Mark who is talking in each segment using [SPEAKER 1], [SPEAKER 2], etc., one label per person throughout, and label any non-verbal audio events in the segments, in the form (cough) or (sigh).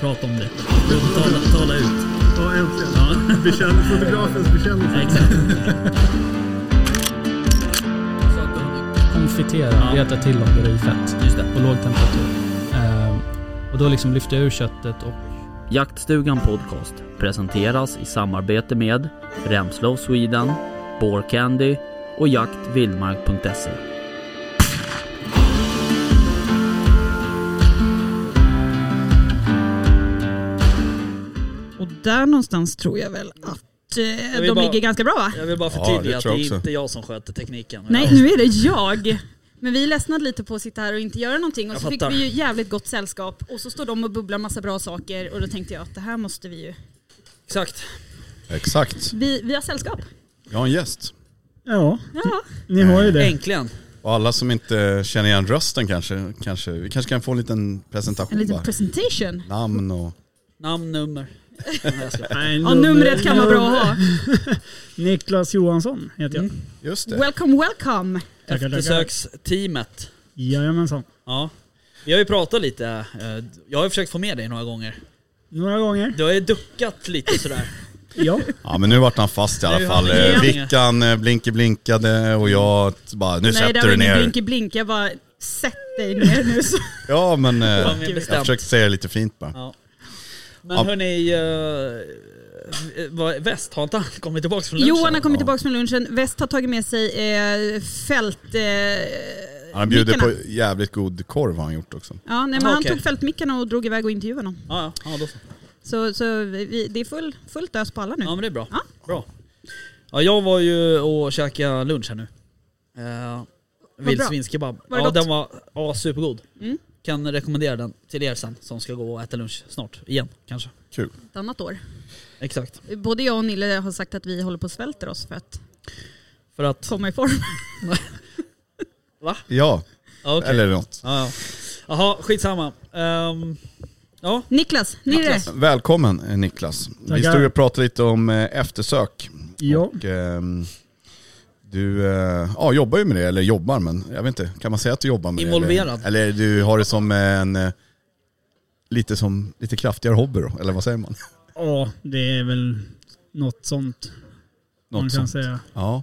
[SPEAKER 1] Prata om det. Tala, tala ut.
[SPEAKER 2] Ja, äntligen.
[SPEAKER 1] Ja.
[SPEAKER 2] Bekänn, fotografens bekännelse.
[SPEAKER 1] Exakt.
[SPEAKER 3] Konfitera,
[SPEAKER 1] Ja.
[SPEAKER 3] reta till om det i fett
[SPEAKER 1] Just det.
[SPEAKER 3] på låg temperatur. Ehm, och då liksom lyfter jag ur köttet och
[SPEAKER 1] Jaktstugan Podcast presenteras i samarbete med Remslow Sweden, Boarcandy och jaktvildmark.se.
[SPEAKER 4] Och där någonstans tror jag väl att eh,
[SPEAKER 5] vill
[SPEAKER 4] de
[SPEAKER 5] bara-
[SPEAKER 4] ligger ganska bra va?
[SPEAKER 5] Jag vill bara
[SPEAKER 6] Ja,
[SPEAKER 5] förtydliga
[SPEAKER 6] det
[SPEAKER 5] att det
[SPEAKER 6] tror jag
[SPEAKER 5] är
[SPEAKER 6] också.
[SPEAKER 5] inte jag som sköter tekniken.
[SPEAKER 4] Nej,
[SPEAKER 5] Jag-
[SPEAKER 4] nu är det jag. Men vi ledsnade lite på att sitta här och inte göra någonting och
[SPEAKER 5] Jag
[SPEAKER 4] så fick
[SPEAKER 5] fattar.
[SPEAKER 4] vi ju jävligt gott sällskap och så står de och bubblar massa bra saker och då tänkte jag att det här måste vi ju.
[SPEAKER 5] Exakt.
[SPEAKER 6] Exakt.
[SPEAKER 4] Vi, vi har sällskap.
[SPEAKER 6] Jag har en gäst.
[SPEAKER 2] Ja,
[SPEAKER 6] Mm.
[SPEAKER 4] Ja.
[SPEAKER 2] ni har ju det.
[SPEAKER 5] Äntligen.
[SPEAKER 6] Och alla som inte känner igen rösten kanske, kanske vi kanske kan få en liten
[SPEAKER 4] En
[SPEAKER 6] presentation
[SPEAKER 4] liten
[SPEAKER 6] bara.
[SPEAKER 4] presentation.
[SPEAKER 6] Namn och...
[SPEAKER 5] Namn, nummer. Nej, jag ska-
[SPEAKER 2] Nej,
[SPEAKER 4] Ja, numret kan vara bra att ha.
[SPEAKER 2] Niklas Johansson heter jag.
[SPEAKER 5] Mm.
[SPEAKER 6] Just det.
[SPEAKER 4] Welcome, welcome.
[SPEAKER 2] tackar.
[SPEAKER 5] Eftersöksteamet.
[SPEAKER 2] Jajamensan.
[SPEAKER 5] Ja. Vi har ju pratat lite. eh, Jag har ju försökt få med dig några gånger.
[SPEAKER 2] Några gånger.
[SPEAKER 5] Du har ju duckat lite sådär.
[SPEAKER 2] Ja.
[SPEAKER 6] Ja men nu vart han fast i alla
[SPEAKER 5] Nu
[SPEAKER 6] fall.
[SPEAKER 5] har vi-
[SPEAKER 6] Eh, Vickan eh, blinky blinkade och jag t- bara, nu
[SPEAKER 4] Nej,
[SPEAKER 6] sätter
[SPEAKER 4] där var
[SPEAKER 6] du
[SPEAKER 4] ingen
[SPEAKER 6] ner.
[SPEAKER 4] blinky blink. Jag bara, sätt dig ner
[SPEAKER 6] (laughs)
[SPEAKER 4] nu. Så.
[SPEAKER 6] Ja men eh,
[SPEAKER 5] var mer
[SPEAKER 6] jag
[SPEAKER 5] bestämt.
[SPEAKER 6] försökte säga det lite fint bara.
[SPEAKER 5] Ja. Men
[SPEAKER 6] Ja.
[SPEAKER 5] hörni, eh, vad- väst, har inte han kommit tillbaka från lunchen?
[SPEAKER 4] Johan har kommit
[SPEAKER 6] Ja.
[SPEAKER 4] tillbaka från lunchen. Väst har tagit med sig eh, fält... Eh,
[SPEAKER 6] Han bjuder
[SPEAKER 4] mickarna.
[SPEAKER 6] på jävligt god korv har han gjort också.
[SPEAKER 4] Ja, nej, men
[SPEAKER 5] Ah,
[SPEAKER 4] han
[SPEAKER 5] okej.
[SPEAKER 4] tog fältmickarna och drog iväg och intervjuade dem.
[SPEAKER 5] Ja, ja, ja, då så.
[SPEAKER 4] Så, så vi- vi, det är full, fullt ös på alla nu.
[SPEAKER 5] ja, men det är bra.
[SPEAKER 4] Ja.
[SPEAKER 5] Bra. Ja, jag var ju och käkade lunch här nu. Uh, Vildsvinskebab.
[SPEAKER 4] Var det
[SPEAKER 5] Ja,
[SPEAKER 4] gott?
[SPEAKER 5] den var ja, supergod.
[SPEAKER 4] Mm.
[SPEAKER 5] Kan rekommendera den till er sen som ska gå och äta lunch snart. Igen, kanske.
[SPEAKER 6] Kul.
[SPEAKER 4] Ett annat år.
[SPEAKER 5] Exakt.
[SPEAKER 4] Både jag och Nille har sagt att vi håller på att svälter oss för att
[SPEAKER 5] För att...
[SPEAKER 4] komma i form.
[SPEAKER 6] Ja,
[SPEAKER 5] Ja, okej.
[SPEAKER 6] eller något.
[SPEAKER 5] Ja, ja. Jaha, skitsamma. Ehm, ja,
[SPEAKER 4] Niklas, Nirre.
[SPEAKER 5] Niklas.
[SPEAKER 6] Välkommen eh, Niklas. Vi
[SPEAKER 2] Tackar.
[SPEAKER 6] stod och pratade lite om eh, eftersök.
[SPEAKER 2] Ja.
[SPEAKER 6] Och, ehm, du eh, ja, jobbar ju med det, eller jobbar men jag vet inte, kan man säga att du jobbar med
[SPEAKER 5] Involverad.
[SPEAKER 6] det? Eller, eller du har det som en eh, lite, som, lite kraftigare hobby då, eller vad säger man?
[SPEAKER 2] ja, det är väl något sånt man kan
[SPEAKER 6] sånt.
[SPEAKER 2] säga.
[SPEAKER 6] Ja.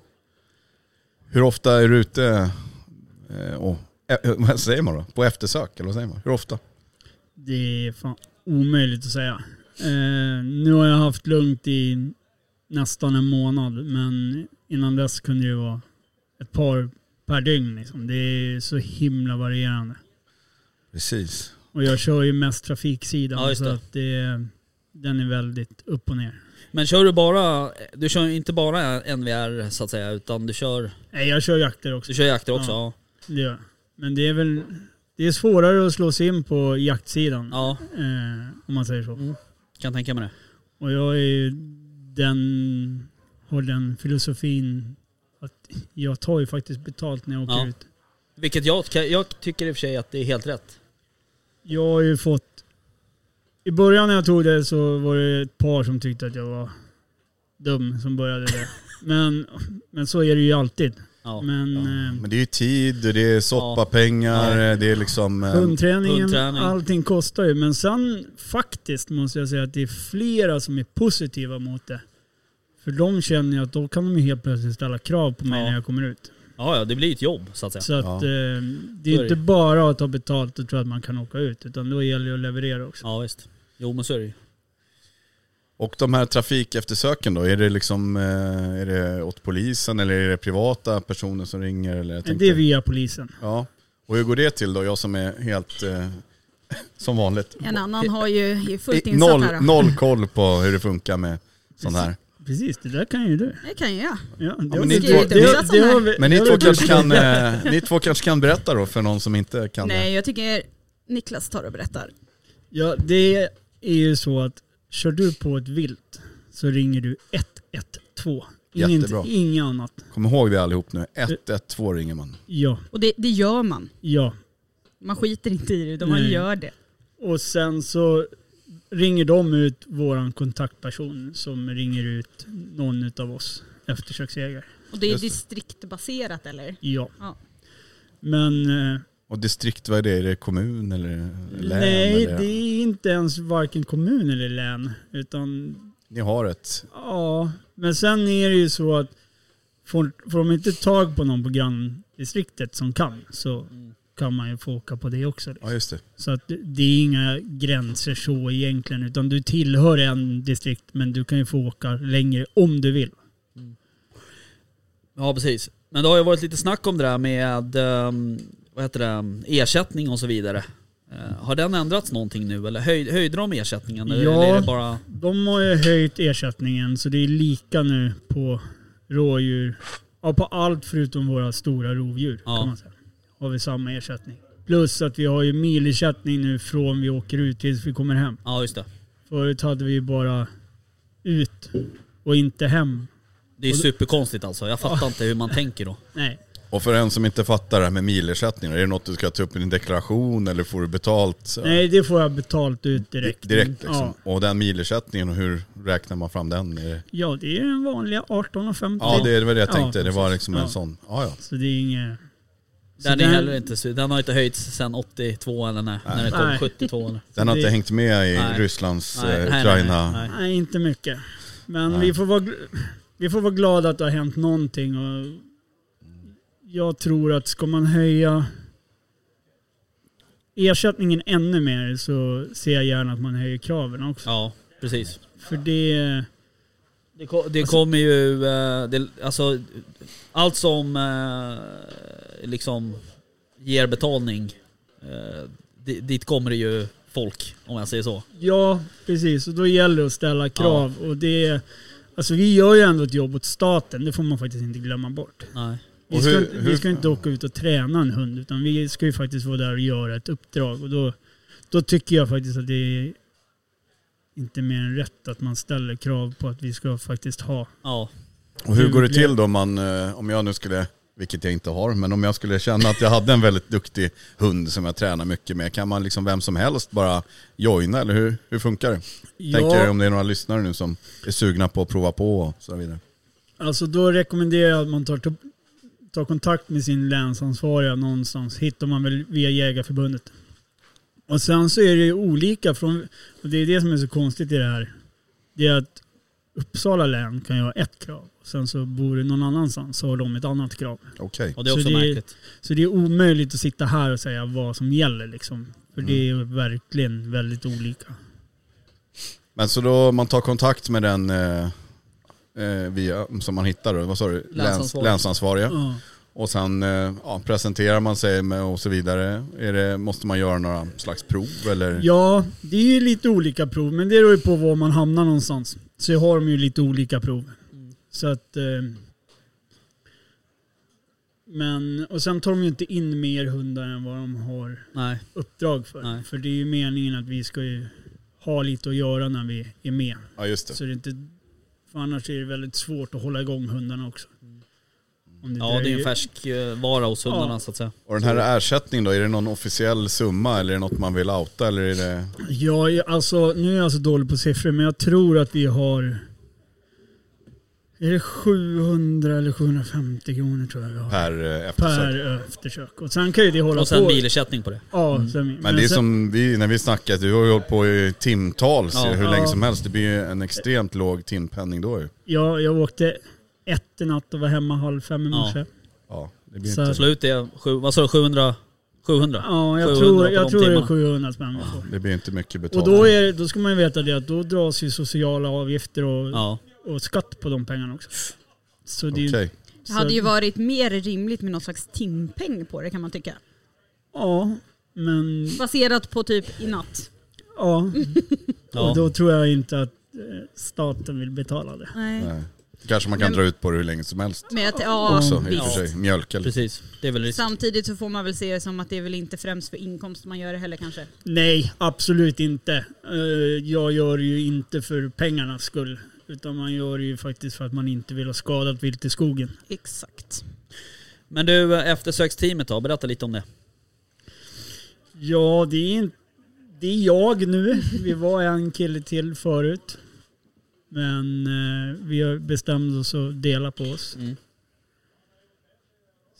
[SPEAKER 6] Hur ofta är du ute eh, och, eh, vad säger man då? På eftersök, eller vad säger man? Hur ofta?
[SPEAKER 2] Det är fan omöjligt att säga. Eh, nu har jag haft lugnt i nästan en månad, men innan dess kunde det ju vara ett par per dygn. Liksom. Det är så himla varierande.
[SPEAKER 6] Precis.
[SPEAKER 2] Och jag kör ju mest trafiksidan,
[SPEAKER 5] Ja, just
[SPEAKER 2] så
[SPEAKER 5] det.
[SPEAKER 2] att det, den är väldigt upp och ner.
[SPEAKER 5] men kör du bara... Du kör ju inte bara NVR så att säga, utan du kör,
[SPEAKER 2] Nej, jag kör jakter också.
[SPEAKER 5] du kör jakter också. Ja.
[SPEAKER 2] Ja. Det gör jag. Men det är väl det är svårare att slå sig in på jaktsidan,
[SPEAKER 5] ja,
[SPEAKER 2] eh, om man säger så.
[SPEAKER 5] kan tänka mig det.
[SPEAKER 2] Och jag är ju den, har den filosofin att jag tar ju faktiskt betalt när jag åker
[SPEAKER 5] Ja.
[SPEAKER 2] ut.
[SPEAKER 5] Vilket jag, jag tycker i och för sig att det är helt rätt.
[SPEAKER 2] Jag har ju fått... I början när jag tog det så var det ett par som tyckte att jag var dum som började
[SPEAKER 5] (laughs)
[SPEAKER 2] det. men, men så är det ju alltid.
[SPEAKER 5] Ja.
[SPEAKER 2] Men eh,
[SPEAKER 6] Men det är ju tid, och det är soppapengar, eh, det är liksom... eh,
[SPEAKER 2] hundträningen,
[SPEAKER 5] Hundträning.
[SPEAKER 2] allting kostar ju. Men sen faktiskt måste jag säga att det är flera som är positiva mot det. För de känner ju att då kan de ju helt plötsligt ställa krav på mig
[SPEAKER 5] Ja.
[SPEAKER 2] när jag kommer ut.
[SPEAKER 5] Ja, ja, det blir ju ett jobb så att säga.
[SPEAKER 2] Så att
[SPEAKER 6] Ja.
[SPEAKER 2] eh, det
[SPEAKER 5] Så är
[SPEAKER 2] är
[SPEAKER 5] det.
[SPEAKER 2] inte bara att ta betalt och tro att man kan åka ut, utan då gäller det att leverera också.
[SPEAKER 5] Ja, visst. Jo, men så är det ju.
[SPEAKER 6] Och de här trafikeftersöken då, är det liksom eh, är det åt polisen eller är det privata personer som ringer? Eller jag
[SPEAKER 2] det är
[SPEAKER 6] tänkte-
[SPEAKER 2] via polisen.
[SPEAKER 6] Ja. Och hur går det till då, jag som är helt, eh, (laughs) som vanligt,
[SPEAKER 4] En annan har ju är fullt
[SPEAKER 6] i-
[SPEAKER 4] insatt
[SPEAKER 6] Eh, noll,
[SPEAKER 4] här. Då.
[SPEAKER 6] noll koll på hur det funkar med sånt här.
[SPEAKER 2] Precis, det där kan ju du.
[SPEAKER 4] Det kan ju jag.
[SPEAKER 2] Ja, det
[SPEAKER 6] men
[SPEAKER 2] har
[SPEAKER 6] ni
[SPEAKER 2] vi-
[SPEAKER 6] två- ni-
[SPEAKER 2] har- det har vi-
[SPEAKER 6] Men ni
[SPEAKER 2] det har
[SPEAKER 6] två,
[SPEAKER 2] vi-
[SPEAKER 6] kanske kan, eh, ni två kanske kan berätta då för någon som inte kan
[SPEAKER 4] Nej, jag tycker Niklas tar och berättar.
[SPEAKER 2] Ja, det är ju så att kör du på ett vilt så ringer du 112. Inget,
[SPEAKER 6] Jättebra.
[SPEAKER 2] inget annat.
[SPEAKER 6] det. Kom ihåg det allihop nu,
[SPEAKER 2] Eh.
[SPEAKER 6] 112 ringer man.
[SPEAKER 2] Ja,
[SPEAKER 4] Och det, det gör man.
[SPEAKER 2] ja.
[SPEAKER 4] Man skiter inte i det utan man
[SPEAKER 2] Nej.
[SPEAKER 4] gör det.
[SPEAKER 2] Och sen så ringer de ut våran kontaktperson som ringer ut någon utav oss eftersöksjägare.
[SPEAKER 4] Och det är
[SPEAKER 6] Just det.
[SPEAKER 4] distriktbaserat eller?
[SPEAKER 2] Ja.
[SPEAKER 4] Ja.
[SPEAKER 2] Men eh,
[SPEAKER 6] Och distrikt, vad är det? Är det kommun eller län?
[SPEAKER 2] Nej,
[SPEAKER 6] eller?
[SPEAKER 2] det är inte ens varken kommun eller län. Utan
[SPEAKER 6] Ni har ett.
[SPEAKER 2] ja, men sen är det ju så att får, får de inte tag på någon på granndistriktet som kan så kan man ju få åka på det också.
[SPEAKER 6] Ja, just det.
[SPEAKER 2] Så att det- det är inga gränser så egentligen. Utan du tillhör en distrikt men du kan ju få åka längre om du vill.
[SPEAKER 5] Ja, precis. Men det har ju varit lite snack om det där med ehm, vad heter det, ersättning och så vidare. Eh, har den ändrats någonting nu eller höj, höjde de ersättningen?
[SPEAKER 2] Ja.
[SPEAKER 5] Eller är det bara...
[SPEAKER 2] De har ju höjt ersättningen så det är lika nu på rådjur. Ja, på allt förutom våra stora rovdjur
[SPEAKER 5] Ja.
[SPEAKER 2] kan man säga. Har vi samma ersättning. Plus att vi har ju milersättning nu från vi åker ut tills vi kommer hem.
[SPEAKER 5] Ja, just det.
[SPEAKER 2] Förut hade vi ju bara ut och inte hem.
[SPEAKER 5] Det är superkonstigt alltså. Jag fattar inte hur man tänker då.
[SPEAKER 2] Nej.
[SPEAKER 6] Och för en som inte fattar det här med milersättningar, är det något du ska ta upp i din deklaration eller får du betalt? så-
[SPEAKER 2] Nej, det får jag betalt ut direkt.
[SPEAKER 6] Direkt liksom.
[SPEAKER 2] Ja.
[SPEAKER 6] Och den milersättningen, hur räknar man fram den? Är det...
[SPEAKER 2] Ja, det är den vanliga 18,50.
[SPEAKER 6] Ja, det var det jag
[SPEAKER 2] Ja,
[SPEAKER 6] tänkte. det var
[SPEAKER 2] precis.
[SPEAKER 6] liksom en
[SPEAKER 2] Ja.
[SPEAKER 6] sån. Ja, ja.
[SPEAKER 2] Så det är inget... Så
[SPEAKER 5] Den, är
[SPEAKER 2] den-
[SPEAKER 5] heller inte, su- den har inte höjts sedan 82 eller när, när det kom
[SPEAKER 2] Nej.
[SPEAKER 5] 72. Eller.
[SPEAKER 6] Den har
[SPEAKER 2] Det-
[SPEAKER 6] inte hängt med i
[SPEAKER 5] Nej.
[SPEAKER 6] Rysslands,
[SPEAKER 5] Nej,
[SPEAKER 6] eh,
[SPEAKER 5] nej, nej,
[SPEAKER 6] Ukraina.
[SPEAKER 5] nej, nej.
[SPEAKER 2] Nej, inte mycket. Men
[SPEAKER 6] Nej.
[SPEAKER 2] vi får, vara, gl- vi får vara glada att det har hänt någonting. Och jag tror att ska man höja ersättningen ännu mer så ser jag gärna att man höjer kraven också.
[SPEAKER 5] Ja, precis. Alltså-
[SPEAKER 2] För det...
[SPEAKER 5] Det, ko- det kommer ju, eh, det, alltså allt som eh, liksom ger betalning, eh, di- dit kommer det ju folk om jag säger så.
[SPEAKER 2] Ja, precis. Och då gäller det att ställa krav. Och det... Alltså vi gör ju ändå ett jobb åt staten. Det får man faktiskt inte glömma bort.
[SPEAKER 5] Nej.
[SPEAKER 2] Vi
[SPEAKER 6] Och
[SPEAKER 2] ska,
[SPEAKER 6] hur-
[SPEAKER 2] inte,
[SPEAKER 6] hur-
[SPEAKER 2] vi ska inte åka ut och träna en hund utan vi ska ju faktiskt vara där och göra ett uppdrag. Och då, då tycker jag faktiskt att det är inte mer än rätt att man ställer krav på att vi ska faktiskt ha.
[SPEAKER 5] Ja.
[SPEAKER 6] Och hur går det
[SPEAKER 2] Hur-
[SPEAKER 6] till då om man, eh, om jag nu skulle, vilket jag inte har, men om jag skulle känna att jag hade en väldigt duktig hund som jag tränar mycket med, kan man liksom vem som helst bara joina eller hur, hur funkar det? Tänker jag om det är några lyssnare nu som är sugna på att prova på och så vidare.
[SPEAKER 2] Alltså då rekommenderar jag att man tar, tar kontakt med sin länsansvariga någonstans. Hittar man väl via Jägarförbundet. Och sen så är det ju olika från, och det är det som är så konstigt i det här. Det är att Uppsala län kan ju ha ett krav. Sen så bor du någon annanstans så har de ett annat krav.
[SPEAKER 6] Okej.
[SPEAKER 5] Och det är
[SPEAKER 2] Så
[SPEAKER 5] också
[SPEAKER 2] det-
[SPEAKER 5] märkligt.
[SPEAKER 2] Så det är omöjligt att sitta här och säga vad som gäller liksom. För det är ju verkligen väldigt olika.
[SPEAKER 6] Men så då man tar kontakt med den eh, eh, via, som man hittar då, vad sa du? Läns,
[SPEAKER 5] Länsansvarig.
[SPEAKER 6] länsansvariga.
[SPEAKER 2] Ja.
[SPEAKER 6] Och sen eh, ja, presenterar man sig med och så vidare. Är det, måste man göra några slags prov eller?
[SPEAKER 2] ja, det är ju lite olika prov. Men det beror ju på var man hamnar någonstans. Så har de ju lite olika prov. Så att... Eh, men, och sen tar de ju inte in mer hundar än vad de har
[SPEAKER 5] Nej.
[SPEAKER 2] uppdrag för.
[SPEAKER 5] Nej.
[SPEAKER 2] För det är ju meningen att vi ska ju ha lite att göra när vi är med.
[SPEAKER 6] Ja just det.
[SPEAKER 2] Så det är inte, för annars är det väldigt svårt att hålla igång hundarna också. Om
[SPEAKER 5] Mm. Ja det är ju en
[SPEAKER 2] dröjer-
[SPEAKER 5] färsk eh, vara hos hundarna så att säga.
[SPEAKER 6] Och den här ersättningen då, är det någon officiell summa eller är det något man vill outa eller är det...
[SPEAKER 2] Jag är alltså, nu är jag så dålig på siffror men jag tror att vi har... Är det 700 eller 750 kronor tror jag vi har.
[SPEAKER 6] Per eh, eftersök?
[SPEAKER 2] Per eftersök. Och sen kan ju det hålla
[SPEAKER 5] Och sen Mm.
[SPEAKER 2] på.
[SPEAKER 5] bilersättning på det.
[SPEAKER 2] Ja, sen, men,
[SPEAKER 6] Men det är
[SPEAKER 2] sen,
[SPEAKER 6] som vi, när vi snackade, du har ju hållit på i timtals
[SPEAKER 5] Ja.
[SPEAKER 6] hur länge
[SPEAKER 2] Ja.
[SPEAKER 6] som helst. Det blir ju en extremt låg timpenning då ju.
[SPEAKER 2] jag, jag åkte ett i natt och var hemma halv fem i
[SPEAKER 5] Ja.
[SPEAKER 2] morse.
[SPEAKER 6] Ja, det blir
[SPEAKER 2] Så-
[SPEAKER 6] inte...
[SPEAKER 5] Slå ut det, sju, vad sa du, 700? 700?
[SPEAKER 2] Ja, jag
[SPEAKER 5] 700
[SPEAKER 2] tror,
[SPEAKER 5] på de
[SPEAKER 2] jag tror det är
[SPEAKER 5] timmarna.
[SPEAKER 2] 700 spänn vi får.
[SPEAKER 6] Det blir inte mycket betalt.
[SPEAKER 2] Och då, är, det- då ska man ju veta det att då dras ju sociala avgifter och,
[SPEAKER 5] Ja.
[SPEAKER 2] och skatt på de pengarna också. Så det är
[SPEAKER 6] Okej.
[SPEAKER 2] ju-
[SPEAKER 4] Det
[SPEAKER 2] så-
[SPEAKER 4] hade ju varit mer rimligt med någon slags timpeng på det kan man tycka.
[SPEAKER 2] Ja, men
[SPEAKER 4] Baserat på typ i natt.
[SPEAKER 2] ja.
[SPEAKER 5] Ja.
[SPEAKER 2] Och då tror jag inte att eh, staten vill betala det.
[SPEAKER 4] Nej.
[SPEAKER 6] Nej. Kanske man kan dra ut på det hur länge som helst
[SPEAKER 4] Men jag, t- ja,
[SPEAKER 6] också i och
[SPEAKER 4] visst.
[SPEAKER 6] för sig. Mjölka lite.
[SPEAKER 5] Precis, det är väl risk.
[SPEAKER 4] Samtidigt så får man väl se det som att det är väl inte främst för inkomst man gör det heller kanske.
[SPEAKER 2] Nej, absolut inte. Eh, Jag gör det ju inte för pengarnas skull. Utan man gör det ju faktiskt för att man inte vill ha skadat vilt i skogen.
[SPEAKER 4] Exakt.
[SPEAKER 5] Men du, eftersöksteamet då, berätta lite om det.
[SPEAKER 2] Ja, det är, in... det är jag nu. Vi var en kille till förut. Men eh, vi har bestämt oss att dela på oss.
[SPEAKER 5] Mm.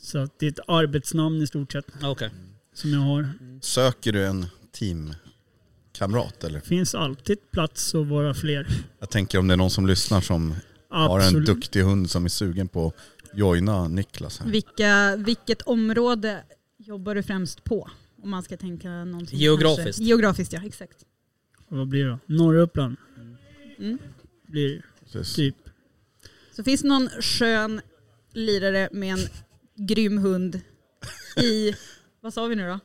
[SPEAKER 2] Så att det är ett arbetsnamn i stort sett.
[SPEAKER 5] Okej.
[SPEAKER 2] som jag har.
[SPEAKER 6] Söker du en teamkamrat eller?
[SPEAKER 2] finns alltid plats att vara fler.
[SPEAKER 6] Jag tänker om det är någon som lyssnar som har en
[SPEAKER 2] Absolut.
[SPEAKER 6] duktig hund som är sugen på att joina Niklas här.
[SPEAKER 4] Vilka, vilket område jobbar du främst på? Om man ska tänka någonting.
[SPEAKER 5] Geografiskt.
[SPEAKER 4] Kanske. Geografiskt ja, exakt.
[SPEAKER 2] Vad blir det? Norra Uppland
[SPEAKER 4] Mm.
[SPEAKER 2] blir det
[SPEAKER 6] Precis.
[SPEAKER 2] typ.
[SPEAKER 4] Så finns det någon skön lirare med en grym hund i, vad sa vi nu då?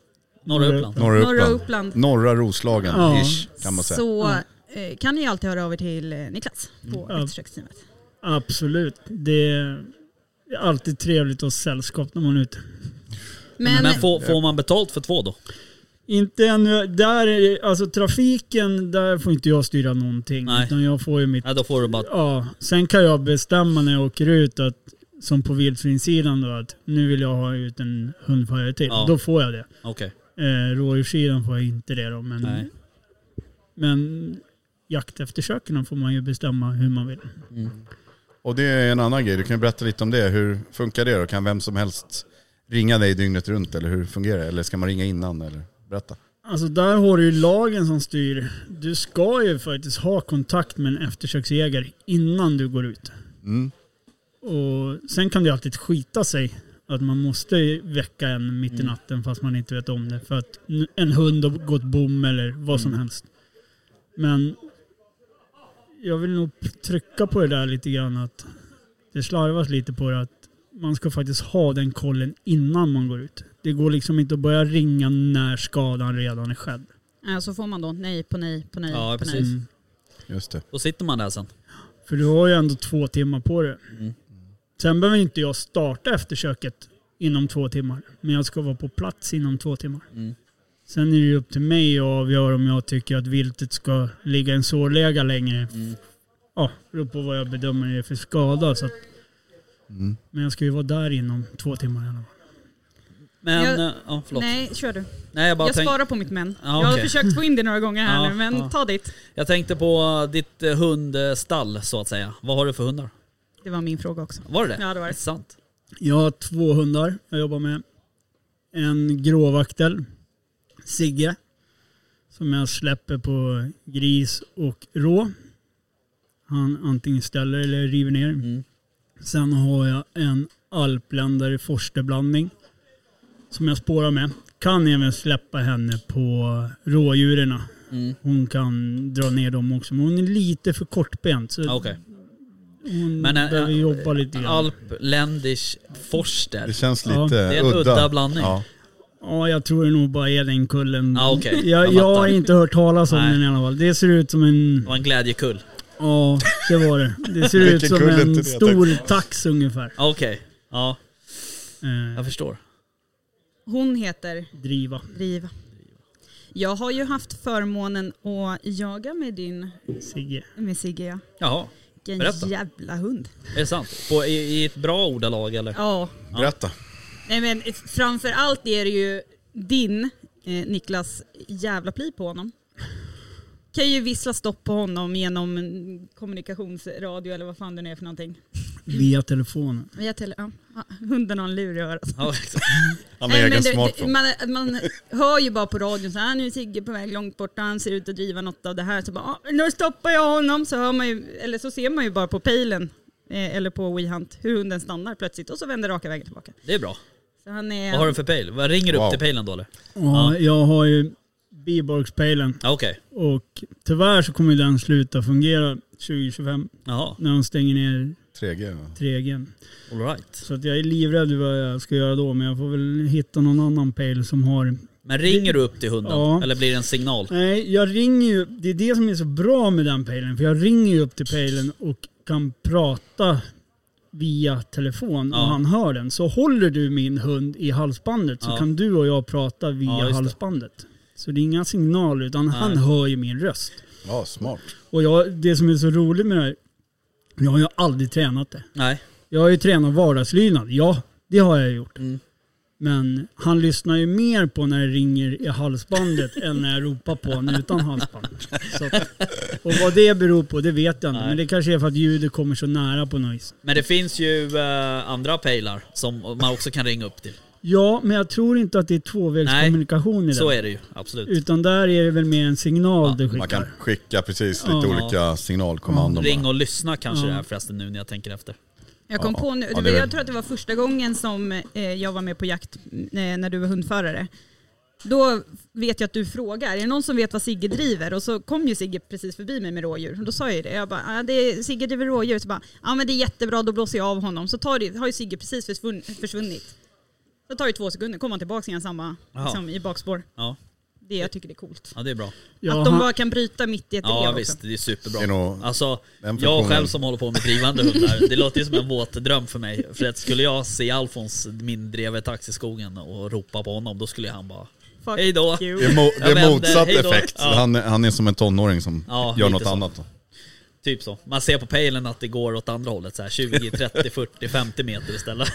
[SPEAKER 5] Norra
[SPEAKER 2] Norra
[SPEAKER 5] Uppland.
[SPEAKER 6] Norra
[SPEAKER 4] Norra
[SPEAKER 6] Uppland.
[SPEAKER 4] Uppland.
[SPEAKER 6] Norra Roslagen
[SPEAKER 2] Ja.
[SPEAKER 6] ish kan man säga.
[SPEAKER 4] Så
[SPEAKER 2] Ja.
[SPEAKER 4] eh, kan ni alltid höra av er till eh, Niklas på
[SPEAKER 2] Ja.
[SPEAKER 4] eftersöksteamet.
[SPEAKER 2] Absolut. Det är alltid trevligt att ha sällskap när man är ute.
[SPEAKER 5] Men,
[SPEAKER 4] Men,
[SPEAKER 5] får, får man betalt för två då?
[SPEAKER 2] Inte ännu. Där är, alltså trafiken, där får inte jag styra någonting.
[SPEAKER 5] Nej.
[SPEAKER 2] Utan jag får ju mitt...
[SPEAKER 5] Nej, då får du bara...
[SPEAKER 2] Ja, sen kan jag bestämma när jag åker ut att som på vildsvinssidan då att nu vill jag ha ut en hundförare till.
[SPEAKER 5] Ja.
[SPEAKER 2] Då får jag det.
[SPEAKER 5] Okej.
[SPEAKER 2] Eh, rådjurssidan får jag inte det då. Men,
[SPEAKER 5] Nej.
[SPEAKER 2] men jakteftersöken får man ju bestämma hur man vill. Mm.
[SPEAKER 6] Och det är en annan grej, du kan ju berätta lite om det. Hur funkar det då? Kan vem som helst ringa dig dygnet runt eller hur fungerar det? Eller ska man ringa innan eller berätta?
[SPEAKER 2] Alltså där har du ju lagen som styr. Du ska ju faktiskt ha kontakt med en eftersöksjägare innan du går ut.
[SPEAKER 6] Mm.
[SPEAKER 2] Och sen kan det ju alltid skita sig att man måste väcka en mitt i natten fast man inte vet om det. För att n- en hund har gått bom eller vad som helst. Men jag vill nog p- trycka på det där lite grann att det slarvas lite på det att man ska faktiskt ha den kollen innan man går ut. Det går liksom inte att börja ringa när skadan redan är skedd. Mm.
[SPEAKER 4] eh, så får man då nej på nej på nej
[SPEAKER 5] Ja,
[SPEAKER 4] på nej.
[SPEAKER 5] precis.
[SPEAKER 6] Just det.
[SPEAKER 5] Då sitter man där sen.
[SPEAKER 2] För du har ju ändå två timmar på dig.
[SPEAKER 5] Mm.
[SPEAKER 2] Sen behöver inte jag starta eftersöket inom två timmar. Men jag ska vara på plats inom två timmar.
[SPEAKER 5] Mm.
[SPEAKER 2] Sen är det ju upp till mig att avgöra om jag tycker att viltet ska ligga i en sårläga längre.
[SPEAKER 5] Mm.
[SPEAKER 2] Ja, beror på vad jag bedömer det är för skada. Så att,
[SPEAKER 6] Mm.
[SPEAKER 2] men jag ska ju vara där inom två timmar i alla fall.
[SPEAKER 5] Men,
[SPEAKER 4] Jag-
[SPEAKER 5] eh, ja förlåt. Nej,
[SPEAKER 4] Nej, kör du.
[SPEAKER 5] jag bara
[SPEAKER 4] Jag
[SPEAKER 5] tänkte...
[SPEAKER 4] sparar på mitt men.
[SPEAKER 5] Ja,
[SPEAKER 4] Jag har
[SPEAKER 5] okej.
[SPEAKER 4] försökt få in det några gånger här
[SPEAKER 5] Ja,
[SPEAKER 4] nu, men
[SPEAKER 5] ja.
[SPEAKER 4] ta ditt.
[SPEAKER 5] Jag tänkte på eh, ditt eh, hundstall så att säga. Vad har du för hundar?
[SPEAKER 4] Det var min fråga också.
[SPEAKER 5] Var det det?
[SPEAKER 4] Ja, det var det.
[SPEAKER 5] Sant.
[SPEAKER 2] Jag har två hundar jag jobbar med. En gråvaktel, Sigge, som jag släpper på gris och rå. Han antingen ställer eller river ner.
[SPEAKER 5] Mm.
[SPEAKER 2] Sen har jag en alpländare forsterblandning som jag spårar med. Kan även släppa henne på rådjuren.
[SPEAKER 5] Mm.
[SPEAKER 2] Hon kan dra ner dem också, men hon är lite för kortbent. Så
[SPEAKER 5] Ja, Okej.
[SPEAKER 2] Hon
[SPEAKER 5] Men, äh,
[SPEAKER 2] behöver jobba lite grann.
[SPEAKER 5] Alpländisch
[SPEAKER 6] Det
[SPEAKER 5] forster.
[SPEAKER 6] känns lite
[SPEAKER 2] Ja. Det
[SPEAKER 5] är en udda blandning.
[SPEAKER 6] Ja.
[SPEAKER 2] Ja, jag tror det nog bara är den kullen.
[SPEAKER 5] Ja, okej.
[SPEAKER 2] (laughs) jag,
[SPEAKER 5] Jag
[SPEAKER 2] jag har
[SPEAKER 5] fattar.
[SPEAKER 2] inte hört talas om
[SPEAKER 5] Nej.
[SPEAKER 2] den i alla fall. Det ser ut som en...
[SPEAKER 5] Det var en glädjekull.
[SPEAKER 2] Ja, det var det. Det
[SPEAKER 5] (laughs)
[SPEAKER 2] ser ut
[SPEAKER 6] Vilken
[SPEAKER 2] som
[SPEAKER 6] kull är inte
[SPEAKER 2] en
[SPEAKER 6] det?
[SPEAKER 2] stor tax ungefär.
[SPEAKER 5] Ja, Okej. Ja,
[SPEAKER 2] Eh,
[SPEAKER 5] jag förstår.
[SPEAKER 4] Hon heter
[SPEAKER 2] driva.
[SPEAKER 4] Driva. Jag har ju haft förmånen att jaga med din,
[SPEAKER 2] Sigge.
[SPEAKER 4] med Sigge ja.
[SPEAKER 5] Jaha.
[SPEAKER 4] Vilken
[SPEAKER 5] Berätta.
[SPEAKER 4] jävla hund.
[SPEAKER 5] Är det sant? På, i, I ett bra ordalag eller?
[SPEAKER 4] Ja,
[SPEAKER 6] Berätta.
[SPEAKER 4] nej men framför allt är det ju din, eh, Niklas, jävla pli på honom. Kan ju vissla stopp på honom genom en kommunikationsradio eller vad fan det nu är för någonting.
[SPEAKER 2] Via telefonen.
[SPEAKER 4] Via tele- ja. ja, (laughs) Hunden har en lur i örat.
[SPEAKER 5] Ja, exakt.
[SPEAKER 6] Han
[SPEAKER 4] Nej,
[SPEAKER 6] har egen
[SPEAKER 4] men det, det,
[SPEAKER 6] smartphone.
[SPEAKER 4] man, man hör ju bara på radion så här, nu är Sigge på väg långt bort, han ser ut att driva något av det här. Så bara, "Ah, nu stoppar jag honom. Så, hör man ju, eller så ser man ju bara på pejlen eh, eller på WeHunt hur hunden stannar plötsligt och så vänder raka vägen tillbaka.
[SPEAKER 5] det är bra.
[SPEAKER 4] Så han är,
[SPEAKER 5] Vad har du för pejl? Vad Ringer du
[SPEAKER 6] Wow.
[SPEAKER 5] upp till pejlen då eller?
[SPEAKER 2] Ja, jag har ju biborgspejlen
[SPEAKER 5] Ja, Okej.
[SPEAKER 2] och tyvärr så kommer den sluta fungera 2025
[SPEAKER 5] Jaha.
[SPEAKER 2] när de stänger ner
[SPEAKER 6] 3G. ja.
[SPEAKER 2] 3G.
[SPEAKER 5] All right.
[SPEAKER 2] Så att jag är livrädd vad jag ska göra då, men jag får väl hitta någon annan pejl som har
[SPEAKER 5] Men ringer du upp till hunden?
[SPEAKER 2] Ja.
[SPEAKER 5] Eller blir det en signal?
[SPEAKER 2] Nej, jag ringer ju. Det är det som är så bra med den pejlen. För jag ringer ju upp till pejlen och kan prata via telefon
[SPEAKER 5] Ja.
[SPEAKER 2] och han hör den. Så håller du min hund i halsbandet så
[SPEAKER 5] Ja.
[SPEAKER 2] kan du och jag prata via
[SPEAKER 5] Ja, just det.
[SPEAKER 2] halsbandet. Så det är inga signaler utan han hör ju min röst.
[SPEAKER 6] Ja, smart.
[SPEAKER 2] Och jag, det som är så roligt med det här, jag har ju aldrig tränat det.
[SPEAKER 5] Nej.
[SPEAKER 2] Jag har ju tränat vardagslydnad, ja det har jag gjort.
[SPEAKER 5] Mm.
[SPEAKER 2] Men han lyssnar ju mer på när det ringer i halsbandet (laughs) än när jag ropar på honom utan halsband. Så att, och vad det beror på det vet jag inte.
[SPEAKER 5] Nej.
[SPEAKER 2] Men det kanske är för att ljudet kommer så nära på något vis.
[SPEAKER 5] Men det finns ju eh, andra pejlar som man också kan ringa upp till.
[SPEAKER 2] Ja, men jag tror inte att det är tvåvägskommunikation i
[SPEAKER 5] Så
[SPEAKER 2] det.
[SPEAKER 5] är det ju, absolut.
[SPEAKER 2] Utan där är det väl mer en signal
[SPEAKER 5] Ja,
[SPEAKER 2] du
[SPEAKER 6] Man
[SPEAKER 2] skickar.
[SPEAKER 6] kan skicka precis lite
[SPEAKER 2] Ja.
[SPEAKER 6] olika signalkommandon.
[SPEAKER 5] Ring
[SPEAKER 6] bara.
[SPEAKER 5] och lyssna kanske
[SPEAKER 2] Ja.
[SPEAKER 5] det är förresten nu när jag tänker efter.
[SPEAKER 4] Jag kom
[SPEAKER 6] Ja,
[SPEAKER 4] på nu,
[SPEAKER 6] ja,
[SPEAKER 4] det
[SPEAKER 6] det
[SPEAKER 4] var,
[SPEAKER 6] är
[SPEAKER 4] jag
[SPEAKER 6] väl-
[SPEAKER 4] tror att det var första gången som eh, jag var med på jakt eh, när du var hundförare. Då vet jag att du frågar, är det någon som vet vad Sigge driver? Och så kom ju Sigge precis förbi mig med rådjur. Och Då sa jag ju det, jag bara, ah, det är, Sigge driver rådjur. Så bara, ja men det är jättebra, då blåser jag av honom. Så tar det, har ju Sigge precis försvunn- försvunnit. Så tar det två sekunder, kommer han tillbaka igen samma,
[SPEAKER 5] Ja.
[SPEAKER 4] liksom, i bakspår.
[SPEAKER 5] Ja,
[SPEAKER 4] Det jag tycker det är coolt.
[SPEAKER 5] ja det är bra.
[SPEAKER 2] Ja,
[SPEAKER 4] att de
[SPEAKER 2] han-
[SPEAKER 4] bara kan bryta mitt i ett
[SPEAKER 5] Ja
[SPEAKER 4] drev också.
[SPEAKER 5] visst, det är superbra.
[SPEAKER 6] Det är nog-
[SPEAKER 5] alltså,
[SPEAKER 6] den
[SPEAKER 5] jag
[SPEAKER 6] funktionen-
[SPEAKER 5] själv som håller på med drivande hundar, det låter ju som en våt dröm för mig. För att skulle jag se Alfons, min drevertax i skogen och ropa på honom, då skulle han bara...
[SPEAKER 4] Fuck
[SPEAKER 5] Hej då.
[SPEAKER 4] you.
[SPEAKER 6] Det är, mo-
[SPEAKER 5] Jag
[SPEAKER 6] det
[SPEAKER 5] vänder,
[SPEAKER 6] är motsatt
[SPEAKER 5] hej då.
[SPEAKER 6] effekt.
[SPEAKER 5] Ja.
[SPEAKER 6] Han, han är som en tonåring som
[SPEAKER 5] Ja,
[SPEAKER 6] gör
[SPEAKER 5] lite
[SPEAKER 6] något
[SPEAKER 5] så.
[SPEAKER 6] annat. då.
[SPEAKER 5] Typ så. Man ser på pejlen att det går åt andra hållet, så här 20, 30, 40, 50 meter istället.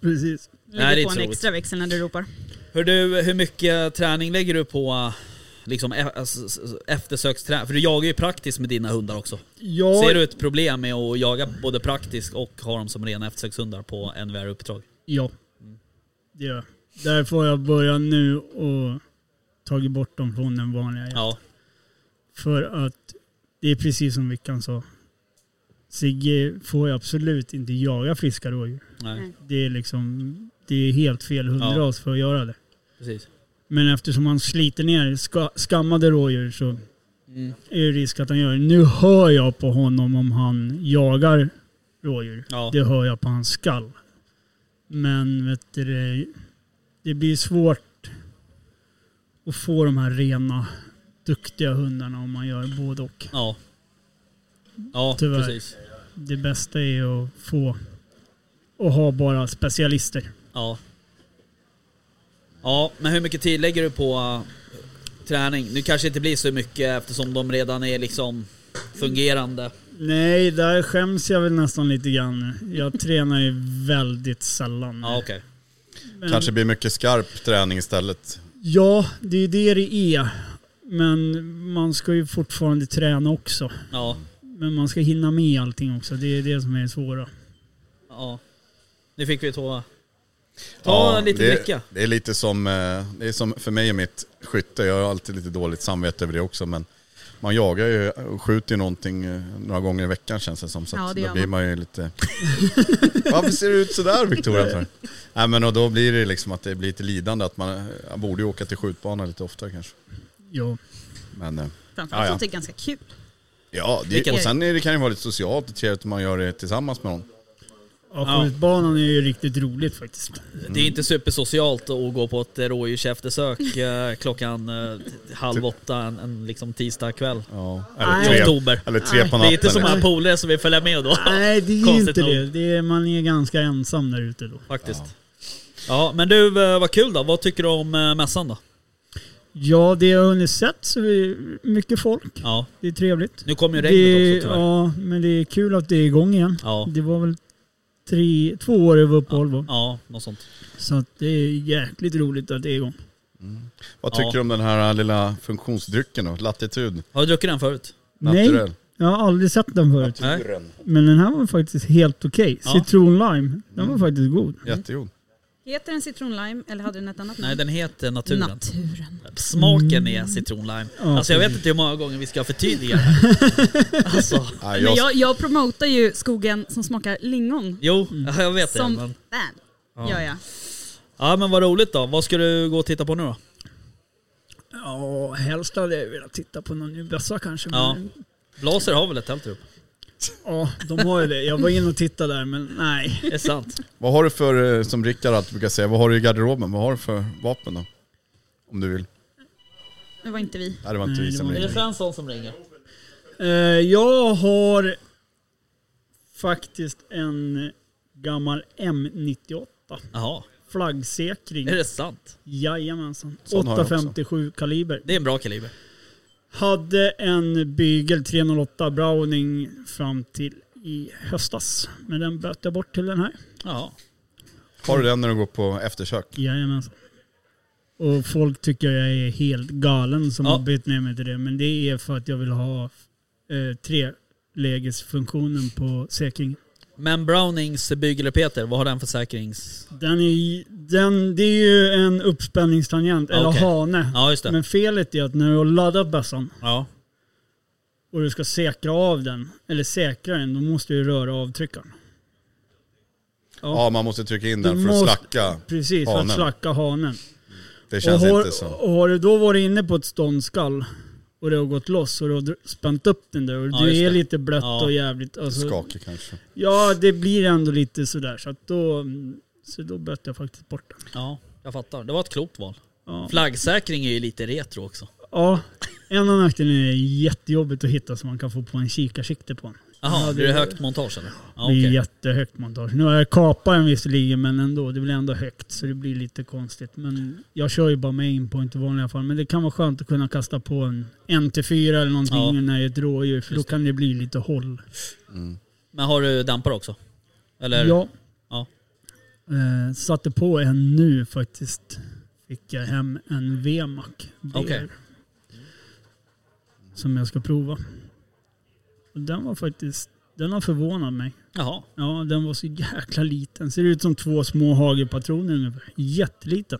[SPEAKER 2] Precis.
[SPEAKER 5] Nej, det är
[SPEAKER 4] Lägger på
[SPEAKER 5] inte
[SPEAKER 4] en
[SPEAKER 5] så
[SPEAKER 4] extra växel när du ropar.
[SPEAKER 5] Hör du, hur mycket träning lägger du på eh, liksom, e- s- s- eftersöksträning? För du jagar ju praktiskt med dina hundar också.
[SPEAKER 2] Ja,
[SPEAKER 5] Ser du ett problem med att jaga både praktiskt och ha dem som rena eftersökshundar på NVR-uppdrag?
[SPEAKER 2] ja. Det gör jag. Därför har jag börjat nu och tagit bort dem från den vanliga jakten.
[SPEAKER 5] Ja.
[SPEAKER 2] För att det är precis som Vickan sa. Sigge får ju absolut inte jaga friska rådjur.
[SPEAKER 5] Nej,
[SPEAKER 2] Det är liksom, det är helt fel hundras för att göra det.
[SPEAKER 5] precis.
[SPEAKER 2] Men eftersom han sliter ner ska, skammade rådjur så
[SPEAKER 5] Mm,
[SPEAKER 2] är det risk att han gör det. Nu hör jag på honom om han jagar rådjur.
[SPEAKER 5] Ja.
[SPEAKER 2] Det hör jag på hans skall. Men vet du, det- det blir svårt att få de här rena, duktiga hundarna om man gör både och.
[SPEAKER 5] Ja. Ja,
[SPEAKER 2] Tyvärr.
[SPEAKER 5] precis.
[SPEAKER 2] Det bästa är att få och ha bara specialister.
[SPEAKER 5] Ja. Ja, men hur mycket tid lägger du på eh, träning? Nu kanske det inte blir så mycket eftersom de redan är liksom fungerande.
[SPEAKER 2] Nej, där skäms jag väl nästan lite grann. (laughs) Jag tränar ju väldigt sällan.
[SPEAKER 5] Ja, okej.
[SPEAKER 2] Men-
[SPEAKER 6] Kanske blir mycket skarp träning istället.
[SPEAKER 2] Ja, det är det det är. Men man ska ju fortfarande träna också.
[SPEAKER 5] Ja.
[SPEAKER 2] Men man ska hinna med allting också. Det är det som är det svåra.
[SPEAKER 5] Ja. Nu fick vi två. Ta lite
[SPEAKER 6] det,
[SPEAKER 5] dricka.
[SPEAKER 6] Det är lite som, eh, det är som för mig är mitt skytte. Jag har alltid lite dåligt samvete över det också. Men man jagar ju och skjuter ju någonting eh, några gånger i veckan känns det som. Så
[SPEAKER 4] Ja,
[SPEAKER 6] att
[SPEAKER 4] det gör
[SPEAKER 6] då blir man ju lite... (laughs) Varför ser du ut sådär Victoria?
[SPEAKER 5] (laughs)
[SPEAKER 6] För? Nej men och då blir det liksom att det blir lite lidande. Att man, jag borde ju åka till skjutbana lite oftare kanske.
[SPEAKER 2] Ja.
[SPEAKER 6] Men... eh,
[SPEAKER 4] Framförallt
[SPEAKER 6] Ja, ja.
[SPEAKER 4] sånt är ganska kul.
[SPEAKER 6] Ja, det,
[SPEAKER 5] Vilket-
[SPEAKER 6] och sen är det kan ju vara lite socialt och trevligt om man gör det tillsammans med någon.
[SPEAKER 2] Ja, skjutbanan är ju riktigt roligt
[SPEAKER 5] (laughs)
[SPEAKER 2] faktiskt.
[SPEAKER 6] mm.
[SPEAKER 5] Det är inte supersocialt att gå på ett rådjurseftersök eh, klockan eh, halv åtta en, en liksom tisdag kväll.
[SPEAKER 6] Typ. Ja.
[SPEAKER 2] Nej.
[SPEAKER 6] Eller
[SPEAKER 5] I
[SPEAKER 6] tre,
[SPEAKER 5] oktober.
[SPEAKER 6] eller tre på
[SPEAKER 5] Det är inte som
[SPEAKER 6] natten. liksom.
[SPEAKER 5] här polare som vill följa med då.
[SPEAKER 2] Nej, det är ju
[SPEAKER 5] Konstigt
[SPEAKER 2] inte
[SPEAKER 5] nog.
[SPEAKER 2] det. det är, man är ganska ensam där ute då.
[SPEAKER 5] (laughs) Faktiskt. Ja, men du, eh, vad kul då. Vad tycker du om eh, mässan då?
[SPEAKER 2] Ja, det jag har hunnit sett så är mycket folk.
[SPEAKER 5] Ja,
[SPEAKER 2] Det är trevligt.
[SPEAKER 5] nu kommer ju regnet
[SPEAKER 2] Det,
[SPEAKER 5] också tyvärr. Ja.
[SPEAKER 2] ja, men det är kul att det är igång igen.
[SPEAKER 5] Ja.
[SPEAKER 2] Det var väl tre, två år över uppehåll va?
[SPEAKER 5] något sånt.
[SPEAKER 2] Så att det är jäkligt roligt att det är igång.
[SPEAKER 6] Vad tycker
[SPEAKER 5] Ja.
[SPEAKER 6] du om den här eh, lilla funktionsdrycken då? Latitud?
[SPEAKER 5] Har du druckit den förut?
[SPEAKER 2] Nej,
[SPEAKER 6] Naturell?
[SPEAKER 2] jag har aldrig sett den förut.
[SPEAKER 5] Nej.
[SPEAKER 2] Men den här var faktiskt helt okej.
[SPEAKER 5] Ja. Mm.
[SPEAKER 2] Citron lime, den var faktiskt god.
[SPEAKER 6] Jättegod.
[SPEAKER 4] Heter den citronlime eller hade den ett annat
[SPEAKER 5] Nej,
[SPEAKER 4] namn?
[SPEAKER 5] den heter Naturen.
[SPEAKER 4] Naturen.
[SPEAKER 5] Smaken är citronlime.
[SPEAKER 2] Mm. Ja,
[SPEAKER 5] alltså jag vet inte hur många gånger vi ska förtydliga det här. alltså,
[SPEAKER 6] Ja,
[SPEAKER 4] Men
[SPEAKER 6] jag,
[SPEAKER 4] jag, jag promotar ju skogen som smakar lingon.
[SPEAKER 5] jo, (laughs) jag vet det.
[SPEAKER 4] Som
[SPEAKER 5] Men...
[SPEAKER 4] fan gör jag.
[SPEAKER 5] Ja men vad roligt då. Vad ska du gå och titta på nu då?
[SPEAKER 2] Ja, helst hade jag velat titta på någon ny bössa kanske.
[SPEAKER 5] Ja.
[SPEAKER 2] Men,
[SPEAKER 5] Blaser har väl ett tält upp?
[SPEAKER 2] ja, de har ju det. Jag var inne och tittade där, men nej.
[SPEAKER 5] Det är sant.
[SPEAKER 6] vad har du för, eh, som Rickard alltid brukar säga, vad har du i garderoben? Vad har du för vapen då? Om du vill.
[SPEAKER 4] Det var inte vi.
[SPEAKER 6] Nej, det var inte
[SPEAKER 2] Nej,
[SPEAKER 6] vi
[SPEAKER 2] det
[SPEAKER 6] som
[SPEAKER 2] var
[SPEAKER 5] Är det
[SPEAKER 6] ringde.
[SPEAKER 5] Svensson som ringer?
[SPEAKER 2] Eh, jag har faktiskt en gammal M98.
[SPEAKER 5] Jaha,
[SPEAKER 2] Flaggsäkring.
[SPEAKER 5] är det sant?
[SPEAKER 2] Jajamensan.
[SPEAKER 6] Sån har jag också.
[SPEAKER 2] 857 kaliber.
[SPEAKER 5] Det är en bra kaliber.
[SPEAKER 2] Hade en bygel 308 Browning fram till i höstas. Men den böt jag bort till den här.
[SPEAKER 5] Ja.
[SPEAKER 6] Har du den när du går på eftersök?
[SPEAKER 2] Jajamensan. Och folk tycker jag är helt galen som
[SPEAKER 5] Ja.
[SPEAKER 2] har bytt ner mig till det. Men det är för att jag vill ha eh, trelägesfunktionen på säkringen.
[SPEAKER 5] Men Brownings Bygel-Peter, vad har den för säkrings...
[SPEAKER 2] Den är, den, det är ju en uppspänningstangent, eller
[SPEAKER 5] Okej.
[SPEAKER 2] hane.
[SPEAKER 5] Ja, just det.
[SPEAKER 2] Men felet är att när du har laddat bössan
[SPEAKER 5] Ja,
[SPEAKER 2] och du ska säkra av den, eller säkra den, då måste du röra avtryckaren.
[SPEAKER 6] Ja, man måste trycka in
[SPEAKER 2] Du
[SPEAKER 6] den för att
[SPEAKER 2] måste-
[SPEAKER 6] slacka.
[SPEAKER 2] Precis, för
[SPEAKER 6] Hanen.
[SPEAKER 2] att slacka hanen.
[SPEAKER 6] Det känns
[SPEAKER 2] och, har,
[SPEAKER 6] inte så.
[SPEAKER 2] och har du då varit inne på ett ståndskall och det har gått loss och du har dr- spänt upp den där och
[SPEAKER 5] Ja,
[SPEAKER 2] du
[SPEAKER 5] just
[SPEAKER 2] är
[SPEAKER 5] det.
[SPEAKER 2] lite blött
[SPEAKER 5] Ja.
[SPEAKER 2] och jävligt. Alltså,
[SPEAKER 6] Skakig kanske.
[SPEAKER 2] Ja, det blir ändå lite sådär. Så, att då, så då böt jag faktiskt bort den.
[SPEAKER 5] ja, jag fattar. Det var ett klokt val.
[SPEAKER 2] Ja.
[SPEAKER 5] Flaggsäkring är ju lite retro också.
[SPEAKER 2] ja. En av nackdelarna är jättejobbigt att hitta så man kan få på en kikarsikte på den.
[SPEAKER 5] Jaha,
[SPEAKER 2] Ja,
[SPEAKER 5] blir det högt montage eller? Ja,
[SPEAKER 2] Det är
[SPEAKER 5] okej.
[SPEAKER 2] jättehögt montage. Nu har jag kapat den visserligen men ändå. Det blir ändå högt så det blir lite konstigt. Men jag kör ju bara med inpoint i vanliga fall. Men det kan vara skönt att kunna kasta på en NT4 eller någonting
[SPEAKER 5] Ja.
[SPEAKER 2] när det är ett rådjur. För då
[SPEAKER 5] Just
[SPEAKER 2] kan det bli lite håll.
[SPEAKER 5] Men har du dampare också? Eller?
[SPEAKER 2] Ja.
[SPEAKER 5] Ja.
[SPEAKER 2] Eh, satte på en nu faktiskt. Fick jag hem en VMAC. BR,
[SPEAKER 5] Okej.
[SPEAKER 2] Som jag ska prova. Och den var faktiskt, den har förvånat mig.
[SPEAKER 5] Jaha.
[SPEAKER 2] Ja, den var så jäkla liten. Ser ut som två små hagelpatroner ungefär. Jätteliten.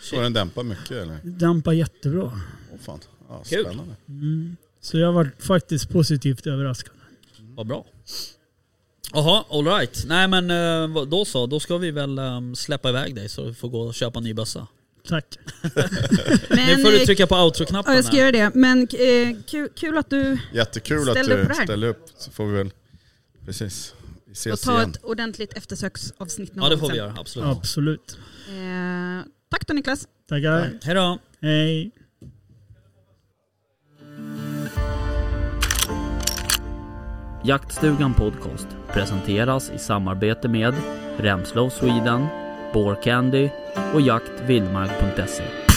[SPEAKER 6] Så den dämpar mycket eller?
[SPEAKER 2] Dampar jättebra.
[SPEAKER 6] Åh fan. Ja,
[SPEAKER 5] Kul.
[SPEAKER 6] spännande.
[SPEAKER 2] Mm. Så jag var faktiskt positivt överraskad.
[SPEAKER 5] Vad bra. Jaha, alright. Nej men eh, vad- då så, då ska vi väl eh, släppa iväg dig så du får gå och köpa en ny bössa.
[SPEAKER 2] Tack.
[SPEAKER 5] Nu
[SPEAKER 4] Men,
[SPEAKER 5] får du
[SPEAKER 4] eh,
[SPEAKER 5] trycka på outro-knappen
[SPEAKER 4] Ja, jag ska
[SPEAKER 5] här.
[SPEAKER 4] göra det. Men eh, kul, kul att du
[SPEAKER 6] Jättekul att
[SPEAKER 4] Ställ upp
[SPEAKER 6] du
[SPEAKER 4] på det här.
[SPEAKER 6] ställer upp. Så får vi väl... Precis. Vi
[SPEAKER 4] får
[SPEAKER 6] ses
[SPEAKER 4] ta
[SPEAKER 6] igen.
[SPEAKER 4] ett ordentligt eftersöksavsnitt någon
[SPEAKER 5] Ja det
[SPEAKER 4] gång
[SPEAKER 5] får vi
[SPEAKER 4] sen.
[SPEAKER 5] göra, absolut.
[SPEAKER 2] Absolut.
[SPEAKER 4] Eh, tack då Niklas.
[SPEAKER 2] Tackar.
[SPEAKER 5] Hej då.
[SPEAKER 2] Hej.
[SPEAKER 1] Jaktstugan Podcast presenteras i samarbete med Remslow Sweden, Candy och jaktvildmark.se.